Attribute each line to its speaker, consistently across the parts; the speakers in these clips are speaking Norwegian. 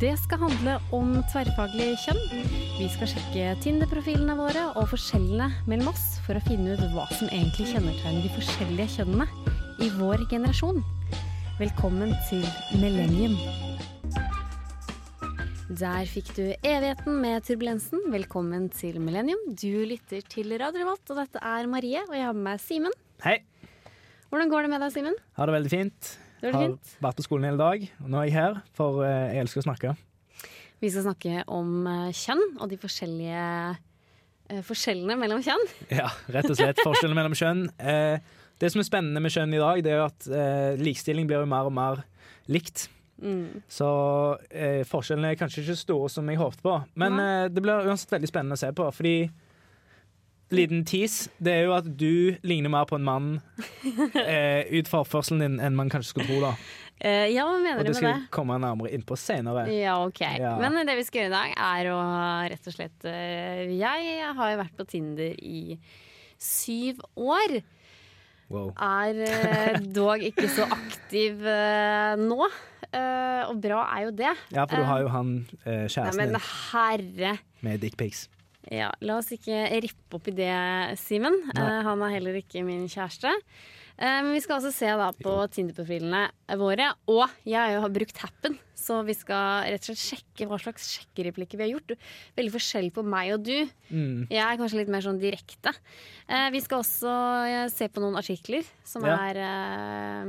Speaker 1: Det skal handle om tverrfaglig kjønn. Vi skal sjekke Tinder-profilene våre og forskjellene mellom oss for å finne ut hva som egentlig kjennetegner de forskjellige kjønnene i vår generasjon. Velkommen til Millennium. Der fikk du evigheten med turbulensen. Velkommen til Millennium. Du lytter til Radio Revolt, og dette er Marie, og jeg har med meg Simen.
Speaker 2: Hei,
Speaker 1: Hvordan går det med deg, Simen?
Speaker 2: har det veldig fint.
Speaker 1: Det var det fint.
Speaker 2: Har vært på skolen hele dag, og nå er jeg her, for eh, jeg elsker å snakke.
Speaker 1: Vi skal snakke om eh, kjønn og de forskjellige eh, forskjellene mellom kjønn.
Speaker 2: Ja, rett og slett forskjellen mellom kjønn. Eh, det som er spennende med kjønn i dag, det er jo at eh, likestilling blir jo mer og mer likt.
Speaker 1: Mm.
Speaker 2: Så eh, forskjellene er kanskje ikke så store som jeg håpte på. Men eh, det blir uansett veldig spennende å se på, fordi Liten tease. Det er jo at du ligner mer på en mann eh, ut fra oppførselen din enn man kanskje skulle tro. da
Speaker 1: Eh, ja, hva mener
Speaker 2: Og
Speaker 1: du
Speaker 2: det
Speaker 1: med
Speaker 2: skal jeg
Speaker 1: det?
Speaker 2: komme nærmere innpå senere.
Speaker 1: Ja, ok.
Speaker 2: Ja.
Speaker 1: Men det vi skal gjøre i dag, er å rett og slett eh, Jeg har jo vært på Tinder i syv år.
Speaker 2: Wow.
Speaker 1: Er eh, dog ikke så aktiv eh, nå. Eh, og bra er jo det.
Speaker 2: Ja, for du har jo han eh,
Speaker 1: Nei,
Speaker 2: kjæresten
Speaker 1: men
Speaker 2: din
Speaker 1: herre
Speaker 2: med dickpics.
Speaker 1: Ja, La oss ikke rippe opp i det, Simen.
Speaker 2: Nei.
Speaker 1: Eh, han er heller ikke min kjæreste. Eh, men vi skal også se da på Tinder-profilene våre. Og jeg har jo brukt Happen, så vi skal rett og slett sjekke hva slags sjekkereplikker vi har gjort. Veldig forskjell på meg og du.
Speaker 2: Mm.
Speaker 1: Jeg er kanskje litt mer sånn direkte. Eh, vi skal også eh, se på noen artikler som
Speaker 2: Ja.
Speaker 1: er eh,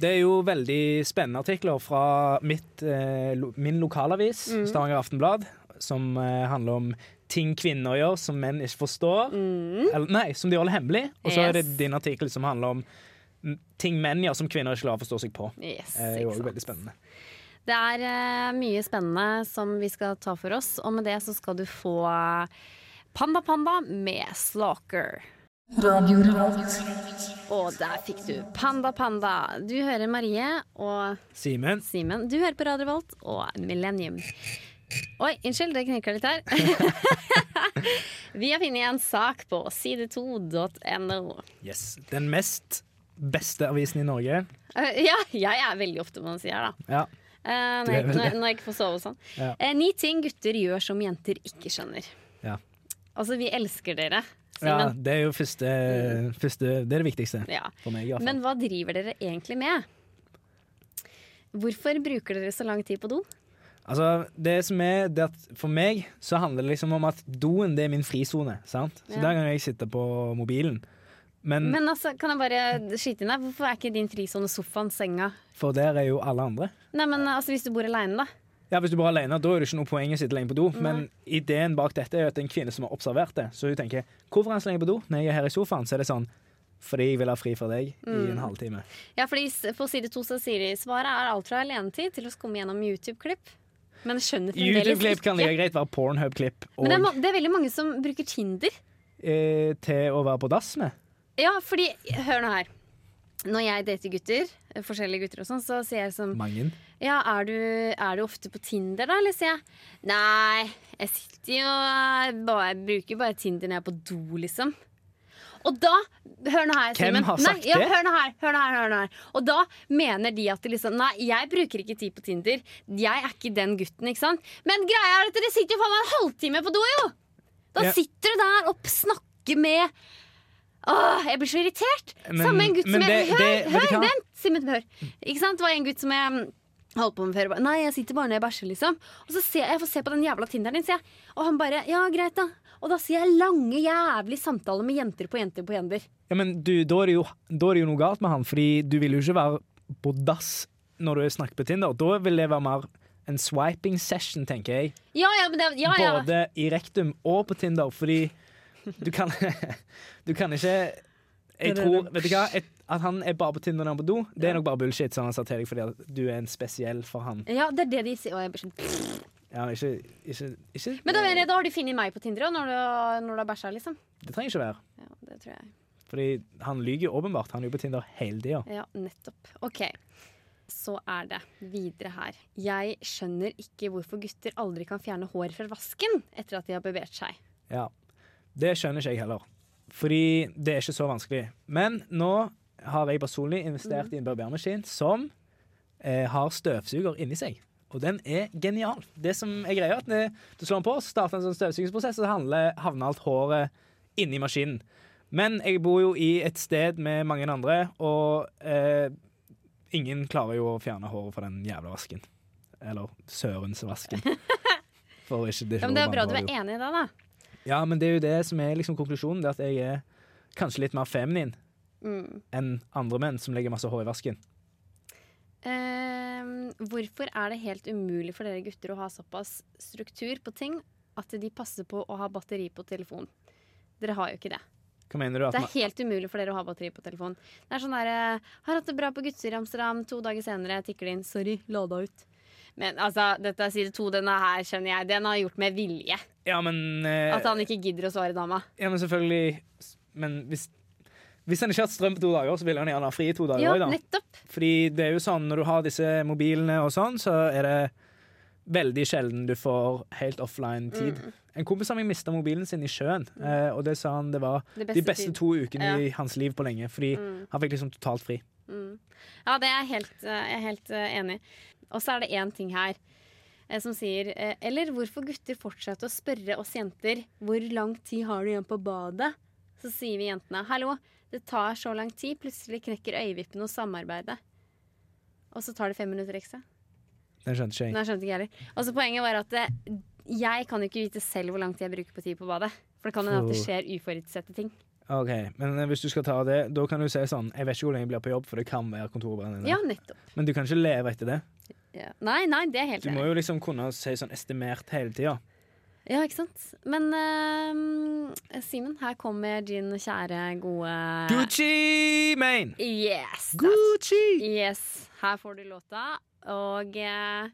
Speaker 2: Det er jo veldig spennende artikler fra mitt, eh, lo, min lokalavis,
Speaker 1: Mm.
Speaker 2: Stavanger Aftenblad, som eh, handler om ting kvinner gjør som menn ikke forstår. Eller, nei, som de holder hemmelig. Og så er det
Speaker 1: Mm. Yes.
Speaker 2: din artikkel som handler om mm, ting menn gjør som kvinner ikke lar forstå seg på.
Speaker 1: Yes,
Speaker 2: Det er
Speaker 1: ikke
Speaker 2: Eh, jo også
Speaker 1: sant.
Speaker 2: veldig spennende.
Speaker 1: Det er eh, mye spennende som vi skal ta for oss, og med det så skal du få Panda Panda med Slaker.
Speaker 3: Radio Revolt.
Speaker 1: Og der fikk du Panda Panda. Du hører Marie og
Speaker 2: Simen?
Speaker 1: Simen. Du hører på Radio Volt og Millennium. Oi, unnskyld, det knirka litt her. vi har funnet en sak på side2.no.
Speaker 2: Yes. Den mest beste avisen i Norge.
Speaker 1: Eh, ja, jeg er veldig ofte på den sida, da.
Speaker 2: Ja.
Speaker 1: Eh, når,
Speaker 2: Du er
Speaker 1: jeg,
Speaker 2: vel
Speaker 1: når, jeg-
Speaker 2: det.
Speaker 1: når jeg ikke får sove og sånn.
Speaker 2: Ja.
Speaker 1: Eh, ni ting gutter gjør som jenter ikke skjønner.
Speaker 2: ja.
Speaker 1: Altså, vi elsker dere,
Speaker 2: ja
Speaker 1: Simen. Mm.
Speaker 2: det er jo første, første Det er det viktigste.
Speaker 1: Ja.
Speaker 2: For meg, i hvert fall.
Speaker 1: Men hva driver dere egentlig med? Hvorfor bruker dere så lang tid på do?
Speaker 2: Altså, det som er det at For meg så handler det liksom om at doen det er min frisone. sant? Så
Speaker 1: Ja.
Speaker 2: der kan jeg sitte på mobilen. Men,
Speaker 1: Men altså, kan jeg bare skyte inn her? Hvorfor er ikke din frisone sofaen, senga?
Speaker 2: for der er jo alle andre.
Speaker 1: Nei, men altså, hvis du bor aleine, da.
Speaker 2: Ja, Hvis du bare er alene, da er det ikke noe poeng å sitte lenge på do. Men ideen bak dette er jo at det er en kvinne som har observert det. Så hun tenker 'Hvorfor er han så lenge på do?' Når jeg er her i sofaen, så er det sånn 'Fordi jeg vil ha fri fra deg i
Speaker 1: Mm.
Speaker 2: en halvtime'.
Speaker 1: Ja, fordi s- på side to så sier de svaret er alt fra alenetid til å komme gjennom YouTube-klipp. Men jeg skjønner fremdeles
Speaker 2: YouTube-klipp kan like
Speaker 1: ikke.
Speaker 2: greit være Pornhub-klipp og
Speaker 1: Men det er, ma- det er veldig mange som bruker Tinder.
Speaker 2: eh, til å være på dass med.
Speaker 1: Ja, fordi Hør nå her. Når jeg dater gutter, forskjellige gutter og sånn, så sier jeg som
Speaker 2: Mange.
Speaker 1: Ja, er du, er du ofte på Tinder da, eller sier jeg? Nei, jeg sitter jo eh, bare, jeg bruker bare Tinder når jeg er på do, liksom. Og da, hør nå her,
Speaker 2: Hvem
Speaker 1: Simen.
Speaker 2: har sagt
Speaker 1: nei, ja,
Speaker 2: det?
Speaker 1: Hør nå her, hør nå her, hør nå her. Og da mener de at de liksom Nei, jeg bruker ikke tid på Tinder. Jeg er ikke den gutten, ikke sant? Men greia er at dere sitter jo faen meg en halvtime på do, jo! Da
Speaker 2: Ja.
Speaker 1: sitter du der og snakker med Åh, jeg blir så irritert!
Speaker 2: Men-
Speaker 1: Samme en gutt som
Speaker 2: men
Speaker 1: jeg
Speaker 2: det-
Speaker 1: Hør,
Speaker 2: det- vet du
Speaker 1: hør
Speaker 2: hva?
Speaker 1: den! Simen, hør. Ikke sant? Det var en gutt som jeg mm, holdt på med før. og bare, Nei, jeg sitter bare når jeg bæsjer, liksom. Og så ser jeg, jeg får se på den jævla Tinderen din, sier jeg. Og han bare Ja, greit, da. Og da sier jeg lange, jævlig samtaler med jenter på jenter på jenter.
Speaker 2: Ja, men du, da, er det jo, da er det jo noe galt med han, fordi du vil jo ikke være på dass når du snakker på Tinder. Da vil det være mer en swiping session, tenker jeg.
Speaker 1: Ja, ja, men det, ja, ja.
Speaker 2: Både i rektum og på Tinder, fordi du kan Du kan ikke Jeg tror Vet du hva? Et, at han er bare på Tinder når han er på do, det er nok bare bullshit, som han sa til deg, fordi at du er en spesiell for han.
Speaker 1: Ja, det er det de sier. Og jeg blir sånn
Speaker 2: Ja, ikke, ikke, ikke
Speaker 1: Men da, da har du funnet meg på Tinder òg, når du når du har bæsja, liksom.
Speaker 2: Det trenger ikke være.
Speaker 1: Ja, det tror jeg.
Speaker 2: Fordi han lyver jo åpenbart. Han er jo på Tinder hele tida.
Speaker 1: Ja, nettopp. Ok. Så er det videre her. Jeg skjønner ikke hvorfor gutter aldri kan fjerne hår fra vasken etter at de har barbert seg.
Speaker 2: Ja. Det skjønner ikke jeg heller. Fordi det er ikke så vanskelig. Men nå har jeg personlig investert i en barbermaskin som eh, har støvsuger inni seg. Og den er genial. Det som er greia er at når Du slår den på, starter en sånn støvsugingsprosess, og så handler- havner alt håret inni maskinen. Men jeg bor jo i et sted med mange andre, og eh, ingen klarer jo å fjerne håret fra den jævla vasken. Eller sørensvasken. For ikke, det,
Speaker 1: Ja, men det er bra du
Speaker 2: er
Speaker 1: er enig i det, da.
Speaker 2: Ja, men det er jo det som er liksom konklusjonen. Det er at jeg er kanskje litt mer feminin
Speaker 1: Mm.
Speaker 2: enn andre menn som legger masse hår i vasken.
Speaker 1: Ehm, hvorfor er det helt umulig for dere gutter å ha såpass struktur på ting at de passer på å ha batteri på telefon? Dere har jo ikke det.
Speaker 2: Hva mener du? At
Speaker 1: Det er
Speaker 2: man,
Speaker 1: helt umulig for dere å ha batteri på telefon. Det er sånn der, eh, Har hatt det bra på guttetur i Amsterdam. To dager senere tikker det inn. Sorry, lada ut. Men altså, dette er side to. Denne her skjønner jeg. Den har gjort med vilje.
Speaker 2: ja, men, eh,
Speaker 1: At han ikke gidder å svare dama.
Speaker 2: ja, men selvfølgelig Men hvis, hvis han ikke har hatt strøm på to dager, så vil han gjerne ha fri i to dager
Speaker 1: Ja,
Speaker 2: også, da.
Speaker 1: nettopp.
Speaker 2: Fordi det er jo sånn når du har disse mobilene og sånn, så er det veldig sjelden du får helt offline tid.
Speaker 1: Mm.
Speaker 2: En kompis av meg mista mobilen sin i sjøen, eh, og det sa han det var
Speaker 1: Det
Speaker 2: de beste
Speaker 1: Mm. tid.
Speaker 2: to ukene
Speaker 1: Ja.
Speaker 2: i hans liv på lenge, fordi
Speaker 1: Mm.
Speaker 2: han fikk liksom totalt fri.
Speaker 1: Mm. Ja, det er jeg helt, eh, jeg er helt eh, enig i. Og så er det én ting her eh, som sier eh, Eller hvorfor gutter fortsetter å spørre oss jenter hvor lang tid har du igjen på badet? Så sier vi jentene hallo, det tar så lang tid. Plutselig knekker øyevippene hos samarbeidet. Og så tar det fem minutter ekstra.
Speaker 2: Den skjønte ikke jeg.
Speaker 1: Nei, jeg skjønte ikke jeg heller. Og så poenget var at eh, jeg kan jo ikke vite selv hvor lang tid jeg bruker på tid på badet. For det kan hende at det
Speaker 2: Oh.
Speaker 1: skjer uforutsette ting.
Speaker 2: Ok, Men eh, hvis du skal ta det, da kan du si sånn Jeg vet ikke hvor lenge jeg blir på jobb, for det kan være kontorbrann. inne.
Speaker 1: Ja, nettopp.
Speaker 2: Men du kan ikke leve etter det.
Speaker 1: Ja. Nei, nei, det er jeg helt
Speaker 2: Du
Speaker 1: enig.
Speaker 2: må jo liksom kunne si sånn estimert hele tida.
Speaker 1: Ja, ikke sant? Men eh, Simen, her kommer din kjære, gode
Speaker 2: Gucci Mane!
Speaker 1: Yes! that's-
Speaker 2: Gucci!
Speaker 1: Yes, Her får du låta. Og eh,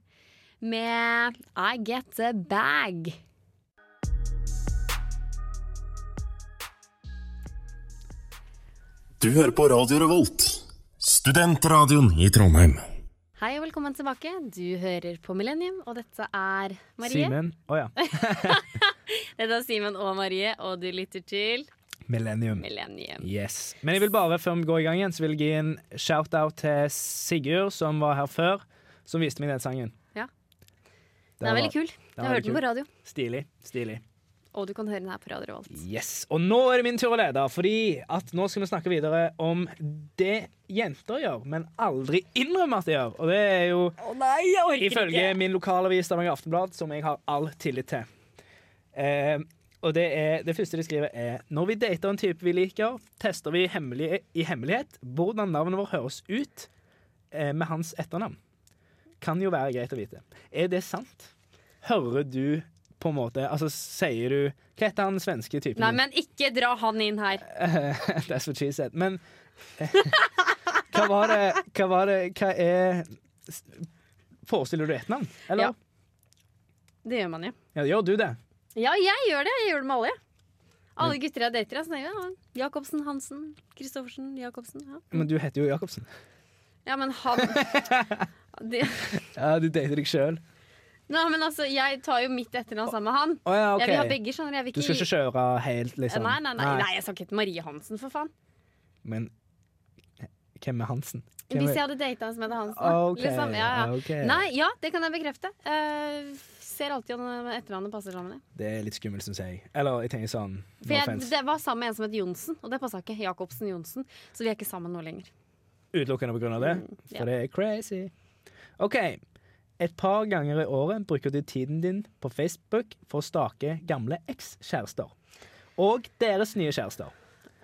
Speaker 1: med I Get A Bag.
Speaker 4: Du hører på Radio Revolt, studentradioen i Trondheim.
Speaker 1: Hei og velkommen tilbake. Du hører på Millennium, og dette er Marie.
Speaker 2: Simen. Å ja.
Speaker 1: Dette er Simen og Marie, og du lytter til
Speaker 2: Millennium.
Speaker 1: Millennium.
Speaker 2: Yes. Men jeg vil bare, før vi går i gang igjen, så vil jeg gi en shout-out til Sigurd, som var her før, som viste meg den sangen.
Speaker 1: Ja.
Speaker 2: Det
Speaker 1: Den er
Speaker 2: var-
Speaker 1: veldig kul.
Speaker 2: var
Speaker 1: Jeg hørte
Speaker 2: veldig
Speaker 1: den på radio.
Speaker 2: Stilig. Stilig.
Speaker 1: Og du kan høre den her på Radio Revolt.
Speaker 2: Yes, Og nå er det min tur å lede, fordi at nå skal vi snakke videre om det jenter gjør, men aldri innrømmer at de gjør. Og det er jo ifølge min lokalavis Stavanger Aftenblad, som jeg har all tillit til. Eh, og det, er, det første de skriver, er når vi dater en type vi liker, tester vi hemmelig, i hemmelighet hvordan navnet vårt høres ut eh, med hans etternavn. Kan jo være greit å vite. Er det sant? Hører du på en måte Altså, sier du Hva heter han svenske typen?
Speaker 1: Nei,
Speaker 2: din?
Speaker 1: men ikke dra han inn her.
Speaker 2: That's what she said. Men hva var det Hva, var det, hva er Forestiller du et navn? Eller?
Speaker 1: Ja. Det gjør man jo.
Speaker 2: Ja, gjør du det?
Speaker 1: Ja, jeg gjør det. Jeg gjør det med alle. jeg. Alle gutter jeg dater. Jeg snakker, ja. Jacobsen, Hansen, Christoffersen, Jacobsen. Ja.
Speaker 2: Men du heter jo Jacobsen.
Speaker 1: ja, men han det,
Speaker 2: Ja, du dater deg sjøl.
Speaker 1: Nei, men altså, jeg tar jo mitt etternavn sammen med han.
Speaker 2: Å ja,
Speaker 1: Jeg vil ha
Speaker 2: OK.
Speaker 1: begge, skjønner du. Jeg vil
Speaker 2: Du skal ikke kjøre helt, liksom?
Speaker 1: Nei, nei, nei, nei, jeg sa ikke til Marie Hansen, for faen.
Speaker 2: Men hvem er Hansen? Hvem
Speaker 1: Hvis jeg
Speaker 2: er
Speaker 1: hadde data en som het Hansen. da.
Speaker 2: OK.
Speaker 1: Liksom, ja, ja.
Speaker 2: ok.
Speaker 1: Nei, ja, det kan jeg bekrefte. Eh, ser alltid om etternavnet passer sammen. jeg.
Speaker 2: Det er litt skummelt, syns jeg. Eller jeg tenker sånn
Speaker 1: For
Speaker 2: No
Speaker 1: jeg,
Speaker 2: offense.
Speaker 1: det var sammen med en som het Johnsen, og det passa ikke. Jacobsen Johnsen. Så vi er ikke sammen nå lenger.
Speaker 2: Utelukkende på grunn av det?
Speaker 1: Mm, ja.
Speaker 2: For det er crazy. OK. Et par ganger i året bruker du tiden din på Facebook for å stake gamle ekskjærester. Og deres nye kjærester.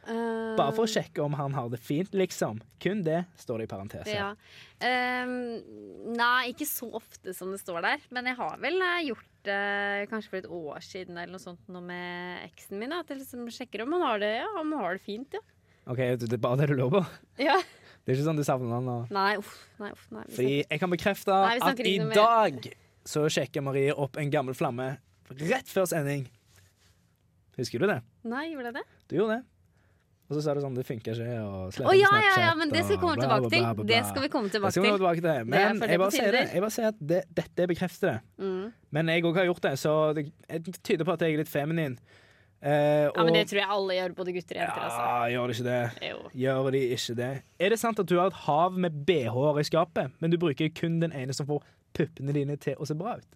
Speaker 1: Eh,
Speaker 2: Bare for å sjekke om han har det fint, liksom. Kun det, står det i parentes. her.
Speaker 1: Ja. Ehm, nei, ikke så ofte som det står der. Men jeg har vel eh, gjort det kanskje for et år siden eller noe sånt noe med eksen min. da, At jeg liksom sjekker om han har det, ja, om han har det fint, ja.
Speaker 2: OK, det er bare det du lover?
Speaker 1: ja.
Speaker 2: Det er ikke sånn du savner han? Og...
Speaker 1: Nei, uff. Nei, uff, nei, vi
Speaker 2: Fordi jeg kan bekrefte
Speaker 1: Nei, vi snakker
Speaker 2: at i
Speaker 1: ikke noe mer.
Speaker 2: dag så sjekker Marie opp en gammel flamme rett før sending. Husker du det?
Speaker 1: snakker- nei, gjorde jeg det?
Speaker 2: Du gjorde det. Og så sa du sånn, det funker ikke. Og
Speaker 1: Å ja, ja, ja, men det skal vi komme tilbake til. Det skal vi komme
Speaker 2: Det
Speaker 1: tilbake
Speaker 2: skal vi
Speaker 1: til.
Speaker 2: komme tilbake til.
Speaker 1: Det er
Speaker 2: Men
Speaker 1: for det
Speaker 2: jeg
Speaker 1: på
Speaker 2: bare sier det.
Speaker 1: Tinder.
Speaker 2: Jeg bare sier at det, dette bekrefter det.
Speaker 1: Mm.
Speaker 2: Men jeg òg har gjort det, så det det tyder på at jeg er litt feminin. Eh, Eh,
Speaker 5: Ja, men
Speaker 2: og-
Speaker 5: det tror jeg alle gjør, både gutter og jenter. Altså.
Speaker 2: Ja, gjør det ikke det?
Speaker 5: Jo.
Speaker 2: Gjør de ikke det? Er det sant at du har et hav med bh-er i skapet, men du bruker kun den ene som får puppene dine til å se bra ut?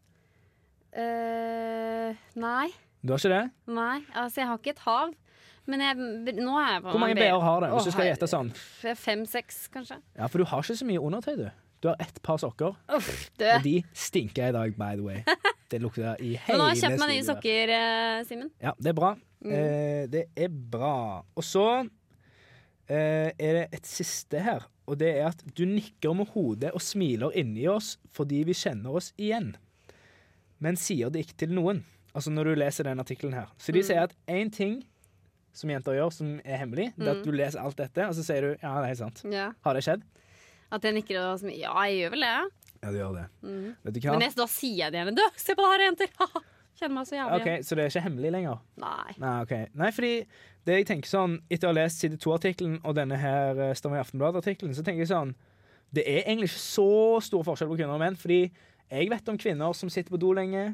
Speaker 1: Eh, nei.
Speaker 2: Du har ikke det?
Speaker 1: Nei, altså jeg har ikke et hav. Men jeg, nå er jeg på
Speaker 2: Hvor mange
Speaker 1: en
Speaker 2: bh har du?
Speaker 1: Å,
Speaker 2: Hvis du skal gjette sånn.
Speaker 1: her- Fem-seks, kanskje.
Speaker 2: Ja, For du har ikke så mye undertøy, du. Du har ett par sokker,
Speaker 5: Uff, du.
Speaker 2: og de stinker i dag, by the way. Det lukter i
Speaker 1: Men
Speaker 2: hele
Speaker 1: nå har jeg kjøpt meg nye
Speaker 2: studioet.
Speaker 1: sokker, Mm. eh, Simen.
Speaker 2: Ja, det er bra. Eh, det er bra. Og så eh, er det et siste her, og det er at du nikker med hodet og smiler inni oss fordi vi kjenner oss igjen, men sier det ikke til noen. Altså når du leser den artikkelen her. Så
Speaker 1: Mm.
Speaker 2: de sier at én ting som jenter gjør som er hemmelig, det er
Speaker 1: Mm.
Speaker 2: at du leser alt dette, og så sier du ja, det er helt sant.
Speaker 1: Ja.
Speaker 2: Har det skjedd?
Speaker 1: At jeg nikker og smiler. Ja, jeg gjør vel det. ja.
Speaker 2: Ja, det gjør det. Vet du hva?
Speaker 1: Mm. Men jeg, da sier jeg det gjerne. Du, se på det her, jenter! Haha, Kjenner meg så jævlig
Speaker 2: OK, så det er ikke hemmelig lenger?
Speaker 1: igjen. Nei.
Speaker 2: Nei, ok. Nei, fordi det jeg tenker sånn, etter å ha lest side 2-artikkelen og denne her eh, Stavanger Aftenblad-artikkelen, så tenker jeg sånn Det er egentlig ikke så stor forskjell på kvinner og menn, fordi jeg vet om kvinner som sitter på do lenge.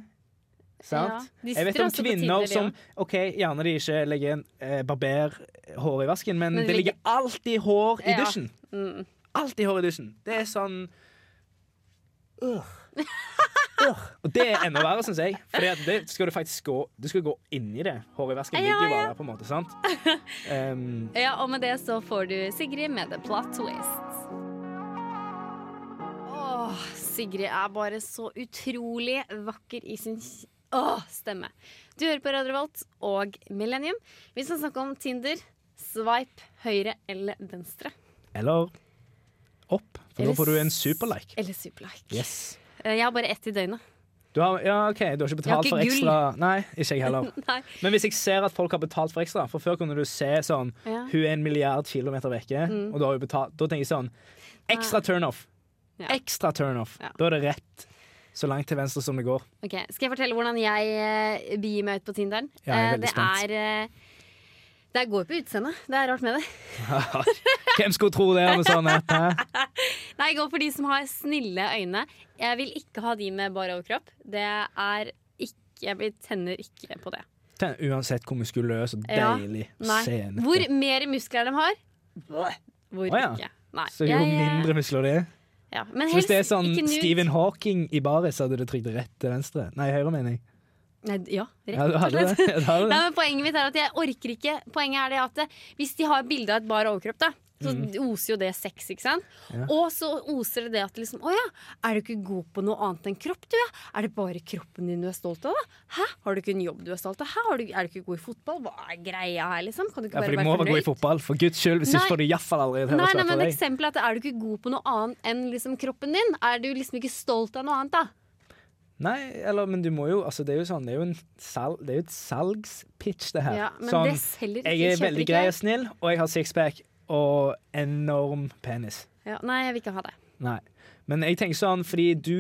Speaker 2: Sant?
Speaker 1: Ja, de
Speaker 2: jeg vet
Speaker 1: sitter
Speaker 2: om
Speaker 1: også på
Speaker 2: kvinner
Speaker 1: Tinder, de
Speaker 2: som OK, gjerne de ikke legger en eh, barber håret i vasken, men,
Speaker 1: Men
Speaker 2: det ligger alltid hår i
Speaker 1: Ja.
Speaker 2: dusjen.
Speaker 1: Mm.
Speaker 2: Alltid hår i dusjen. Det er sånn øh. Øh. Og det er enda verre, syns jeg. For det skal du faktisk gå Du skal gå inni det. Håret i vasken
Speaker 1: Ja,
Speaker 2: ligger jo
Speaker 1: ja.
Speaker 2: bare der, på en måte. Sant? Um,
Speaker 1: Ja, og med det så får du Sigrid med The Plot Twist. Åh, Sigrid er bare så utrolig vakker i sin kj- Åh, stemme. Du hører på Radio Revolt og Millennium. Vi skal snakke om Tinder. Swipe høyre eller venstre.
Speaker 2: eller opp, for
Speaker 1: Eller
Speaker 2: nå får du en
Speaker 1: s-
Speaker 2: superlike.
Speaker 1: Eller superlike.
Speaker 2: Yes.
Speaker 1: Eh, Jeg har bare ett i døgnet.
Speaker 2: Du har, ja, OK, du har ikke
Speaker 1: har
Speaker 2: betalt
Speaker 1: ikke
Speaker 2: for
Speaker 1: gull.
Speaker 2: ekstra Nei, ikke jeg heller.
Speaker 1: Nei.
Speaker 2: Men hvis jeg ser at folk har betalt for ekstra For før kunne du se sånn
Speaker 1: Ja. Mm.
Speaker 2: Hun er en milliard kilometer vekke Og da har hun betalt Da tenker jeg sånn Ekstra turn off
Speaker 1: Ah. Ja.
Speaker 2: Ekstra turn off
Speaker 1: Ja.
Speaker 2: Da er det rett Så langt til venstre som det går
Speaker 1: Ok, Skal jeg fortelle hvordan jeg eh, begir meg ut på Tinderen?
Speaker 2: Ja, jeg er
Speaker 1: Eh,
Speaker 2: veldig
Speaker 1: det
Speaker 2: spent.
Speaker 1: er eh, Det går på utseendet. Det er rart med det.
Speaker 2: Hvem skulle tro det med sånn at hæ?
Speaker 1: Nei, jeg går for de som har snille øyne. Jeg vil ikke ha de med bar overkropp. Det er ikke Jeg tenner ikke på det.
Speaker 2: Ten- Uansett hvor muskuløs og
Speaker 1: Ja.
Speaker 2: deilig
Speaker 1: Nei.
Speaker 2: scenen
Speaker 1: Hvor mer muskler de har, hvor
Speaker 2: Å, ja.
Speaker 1: ikke. Nei.
Speaker 2: Så jo
Speaker 1: jeg- eh,
Speaker 2: mindre muskler det er
Speaker 1: ja. Men
Speaker 2: Så hvis
Speaker 1: helst
Speaker 2: det er sånn
Speaker 1: ikke nude.
Speaker 2: Stephen Hawking i baris Hadde det trykt rett til venstre Nei, høyre mening
Speaker 1: Nei, ja,
Speaker 2: Ja, du
Speaker 1: rett og
Speaker 2: hadde
Speaker 1: slett.
Speaker 2: det, Ja, du hadde det.
Speaker 1: Nei, men poenget mitt er at jeg orker ikke Poenget er det at det- hvis de har bilde av et bar overkropp, da, så
Speaker 2: Mm.
Speaker 1: oser jo det sex. ikke sant? Og så oser det det at liksom, Å ja, er du ikke god på noe annet enn kropp, du? Ja? Er det bare kroppen din du er stolt av? da? Hæ? Har du ikke en jobb du er stolt av? Hæ? Har du, er du ikke god i fotball? Hva er greia her, liksom? Kan du ikke
Speaker 2: Ja,
Speaker 1: bare
Speaker 2: for de
Speaker 1: være
Speaker 2: må være gode i
Speaker 1: fornøyd?
Speaker 2: fotball For Guds skyld, hvis ikke
Speaker 1: Nei.
Speaker 2: får de i hvert fall aldri et
Speaker 1: Nei, nei,
Speaker 2: høresvar
Speaker 1: men
Speaker 2: fra deg
Speaker 1: eksempelet er at er du ikke god på noe annet enn liksom kroppen din? Er du liksom ikke stolt av noe annet, da?
Speaker 2: Nei, eller, men du må jo altså, Det er jo sånn, det er jo, en sal, det er jo et salgspitch, det her.
Speaker 1: Ja, men
Speaker 2: sånn,
Speaker 1: det selger ikke.
Speaker 2: jeg er
Speaker 1: kjøper
Speaker 2: veldig
Speaker 1: ikke
Speaker 2: grei
Speaker 1: jeg.
Speaker 2: og snill, og jeg har sixpack og enorm penis.
Speaker 1: Ja, nei, jeg vil ikke ha det.
Speaker 2: Nei. Men jeg tenker sånn, fordi du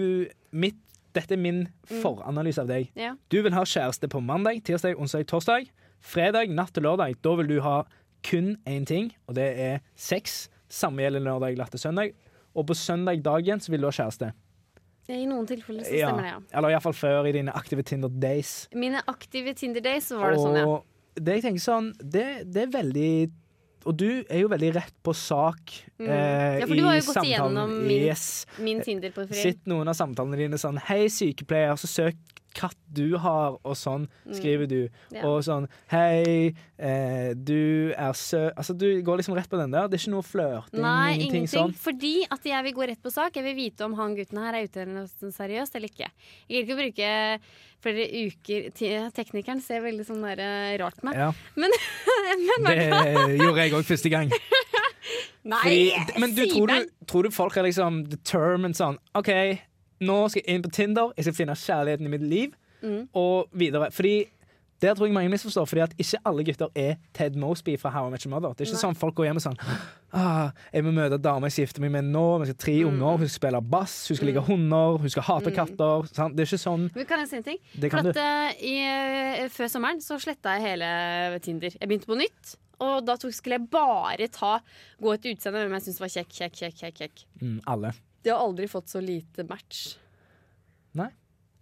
Speaker 2: mitt, Dette er min
Speaker 1: Mm.
Speaker 2: foranalyse av deg.
Speaker 1: Ja.
Speaker 2: Du vil ha kjæreste på mandag, tirsdag, onsdag, torsdag. Fredag, natt til lørdag. Da vil du ha kun én ting, og det er sex. Samme gjelder lørdag, natt til søndag. Og på søndag dagen så vil du ha kjæreste.
Speaker 1: I noen tilfeller så
Speaker 2: Ja.
Speaker 1: stemmer det, ja.
Speaker 2: Eller iallfall før i dine aktive Tinder days.
Speaker 1: Mine aktive Tinder-days, så var det sånn, ja.
Speaker 2: Og det jeg tenker sånn, det, det er veldig Og du er jo veldig rett på sak
Speaker 1: Mm.
Speaker 2: eh,
Speaker 1: Ja, for du har jo
Speaker 2: i
Speaker 1: gått
Speaker 2: samtalen.
Speaker 1: igjennom min-
Speaker 2: Yes.
Speaker 1: Min Tinder-profil.
Speaker 2: Sitt noen av samtalene dine sånn Hei, sykepleier, så søk katt du har, og sånn skriver du.
Speaker 1: Mm. Ja.
Speaker 2: Og sånn Hei, eh, du er sø... Altså, du går liksom rett på den der. Det er ikke noe flørting,
Speaker 1: Nei,
Speaker 2: ingenting,
Speaker 1: ingenting.
Speaker 2: sånn.
Speaker 1: Fordi at jeg vil gå rett på sak. Jeg vil vite om han gutten her er ute eller noe seriøst eller ikke. Jeg gidder ikke å bruke flere uker til Teknikeren ser veldig sånn der, eh, rart på meg.
Speaker 2: Ja,
Speaker 1: Men
Speaker 2: det gjorde jeg òg første gang. Fordi,
Speaker 1: nei!
Speaker 2: men du
Speaker 1: Simen!
Speaker 2: tror, du, tror du folk er liksom determined sånn OK, nå skal jeg inn på Tinder, jeg skal finne kjærligheten i mitt liv,
Speaker 1: Mm.
Speaker 2: og videre. Fordi der tror jeg mange misforstår, fordi at ikke alle gutter er Ted Mosby fra How I Met Your Mother. Det er ikke sånn folk går hjem og sånn ah, 'Jeg må møte dama jeg skal gifte meg med nå, vi skal ha
Speaker 1: Mm.
Speaker 2: tre unger, hun skal spille bass, hun skal like hunder, hun skal hate katter.' Sant? Det er ikke sånn.
Speaker 1: Men kan jeg si en ting?
Speaker 2: Det kan
Speaker 1: For at,
Speaker 2: du.
Speaker 1: eh, i, Før sommeren så sletta jeg hele Tinder. Jeg begynte på nytt. Og da tok, skulle jeg bare ta, gå etter utseendet hvem jeg syntes var kjekk, kjekk, kjekk. kjekk, kjekk.
Speaker 2: Mm, alle.
Speaker 1: Det har aldri fått så lite match.
Speaker 2: Nei.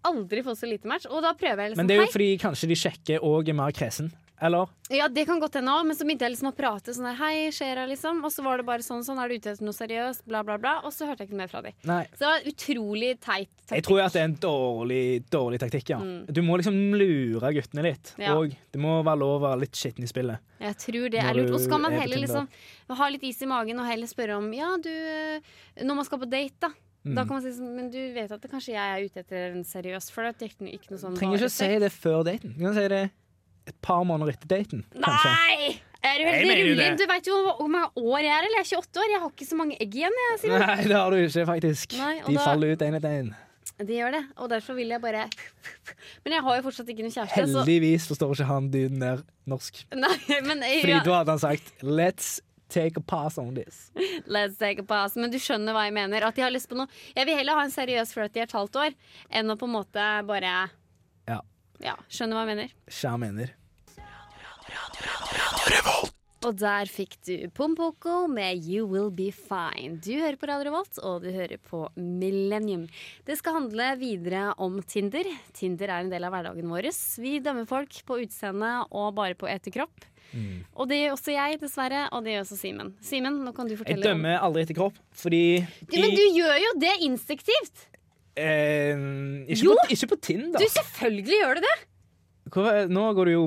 Speaker 1: Aldri fått så lite match. Og da prøver jeg liksom
Speaker 2: Men det er jo
Speaker 1: hei.
Speaker 2: fordi kanskje de sjekke og er mer kresen eller?
Speaker 1: Ja, det kan godt hende òg, men så begynte jeg liksom å prate sånn der Hei, skjer det, liksom? Og så var det bare sånn, sånn, er du ute etter noe seriøst? Bla, bla, bla. Og så hørte jeg ikke noe mer fra dem.
Speaker 2: Nei.
Speaker 1: Så det var utrolig teit.
Speaker 2: Jeg
Speaker 1: taktikk. Mm.
Speaker 2: tror at det er en dårlig, dårlig taktikk, ja. Du må liksom lure guttene litt.
Speaker 1: Ja.
Speaker 2: Og det må være lov å være litt skitten i spillet.
Speaker 1: Jeg tror det er
Speaker 2: Når du
Speaker 1: lurt. Og så kan man
Speaker 2: er på
Speaker 1: heller
Speaker 2: Tinder.
Speaker 1: liksom ha litt is i magen og heller spørre om Ja, du eh, Når man skal på date, da.
Speaker 2: Mm.
Speaker 1: Da kan man si sånn Men du vet at det kanskje jeg er ute etter en seriøs flørt? det er Ikke, ikke noe sånn
Speaker 2: Trenger
Speaker 1: bare
Speaker 2: ikke å si
Speaker 1: sex.
Speaker 2: det før daten. Du kan si det et par måneder etter daten, kanskje.
Speaker 1: Nei! Er du
Speaker 2: Jeg
Speaker 1: veldig
Speaker 2: mener jo
Speaker 1: rolig?
Speaker 2: det.
Speaker 1: Du veit jo hvor- hvor mange år jeg er, eller? Jeg er 28 år. Jeg har ikke så mange egg igjen, jeg. Sier.
Speaker 2: Nei, det har du ikke, faktisk.
Speaker 1: Nei, og
Speaker 2: De
Speaker 1: da-
Speaker 2: faller ut én etter én.
Speaker 1: De gjør det. Og derfor vil jeg bare Men jeg har jo fortsatt ikke noen kjæreste, så
Speaker 2: Heldigvis forstår ikke han dyden der norsk.
Speaker 1: Nei, men
Speaker 2: Fordi da hadde han sagt 'let's take a pass on this'.
Speaker 1: Let's take a pass. Men du skjønner hva jeg mener. At jeg har lyst på noe Jeg vil heller ha en seriøs flørt i et halvt år enn å på en måte bare
Speaker 2: Ja.
Speaker 1: Ja, skjønner hva jeg mener.
Speaker 2: Skjær mener.
Speaker 1: Og der fikk du Pompoko med You Will Be Fine. Du hører på Radio Revolt, og du hører på Millennium. Det skal handle videre om Tinder. Tinder er en del av hverdagen vår. Vi dømmer folk på utseende og bare på etterkropp.
Speaker 2: Mm.
Speaker 1: Og det gjør også jeg, dessverre. Og det gjør også Simen. Simen, nå kan du
Speaker 2: Jeg
Speaker 1: fortelle
Speaker 2: dømmer aldri etter kropp, fordi
Speaker 1: om Men du gjør jo det instinktivt!
Speaker 2: eh, ikke,
Speaker 1: Jo!
Speaker 2: på, ikke på Tinder.
Speaker 1: Du, selvfølgelig gjør du det!
Speaker 2: Hvor, nå går du jo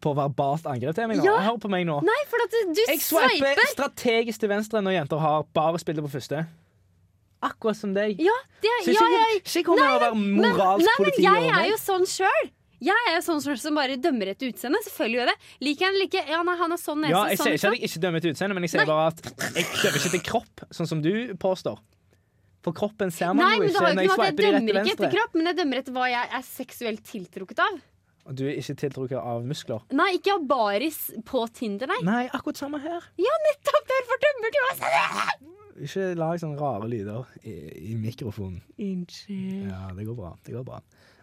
Speaker 2: på verbalt angrep til meg. nå.
Speaker 1: Ja.
Speaker 2: Hør på meg nå.
Speaker 1: Nei, for at du, du
Speaker 2: Jeg sveiper
Speaker 1: sveiper!
Speaker 2: strategisk til venstre når jenter har bare spillet på første. Akkurat som deg.
Speaker 1: Ja, det
Speaker 2: Så
Speaker 1: er
Speaker 2: ikke,
Speaker 1: ja, jeg,
Speaker 2: ikke kom her og være
Speaker 1: nei,
Speaker 2: moralsk
Speaker 1: men
Speaker 2: politi
Speaker 1: jeg
Speaker 2: over
Speaker 1: er
Speaker 2: meg.
Speaker 1: jo sånn sjøl. Jeg er jo sånn som- som bare dømmer etter utseende. Selvfølgelig gjør jeg det. Liker jeg eller ikke? Ja, nei, han har sånn nese.
Speaker 2: Ja, jeg
Speaker 1: sånn
Speaker 2: sier ikke
Speaker 1: utseende.
Speaker 2: at jeg ikke dømmer til utseende, men jeg sier bare at jeg dømmer ikke til kropp, sånn som du påstår. For kroppen ser
Speaker 1: Nei,
Speaker 2: man
Speaker 1: men
Speaker 2: jo
Speaker 1: det
Speaker 2: ikke
Speaker 1: har jo ikke
Speaker 2: når
Speaker 1: noe
Speaker 2: jeg
Speaker 1: at
Speaker 2: sveiper
Speaker 1: jeg
Speaker 2: de rett
Speaker 1: dømmer
Speaker 2: til
Speaker 1: ikke etter
Speaker 2: venstre.
Speaker 1: kropp, men jeg dømmer etter hva jeg er seksuelt tiltrukket av.
Speaker 2: Og du er ikke tiltrukket av muskler.
Speaker 1: Nei, ikke av baris på Tinder, nei.
Speaker 2: Nei, akkurat samme her.
Speaker 1: Ja, nettopp derfor dømmer du oss!
Speaker 2: Ikke lag sånne rare lyder i, i mikrofonen. Ja, det går bra. Det går bra.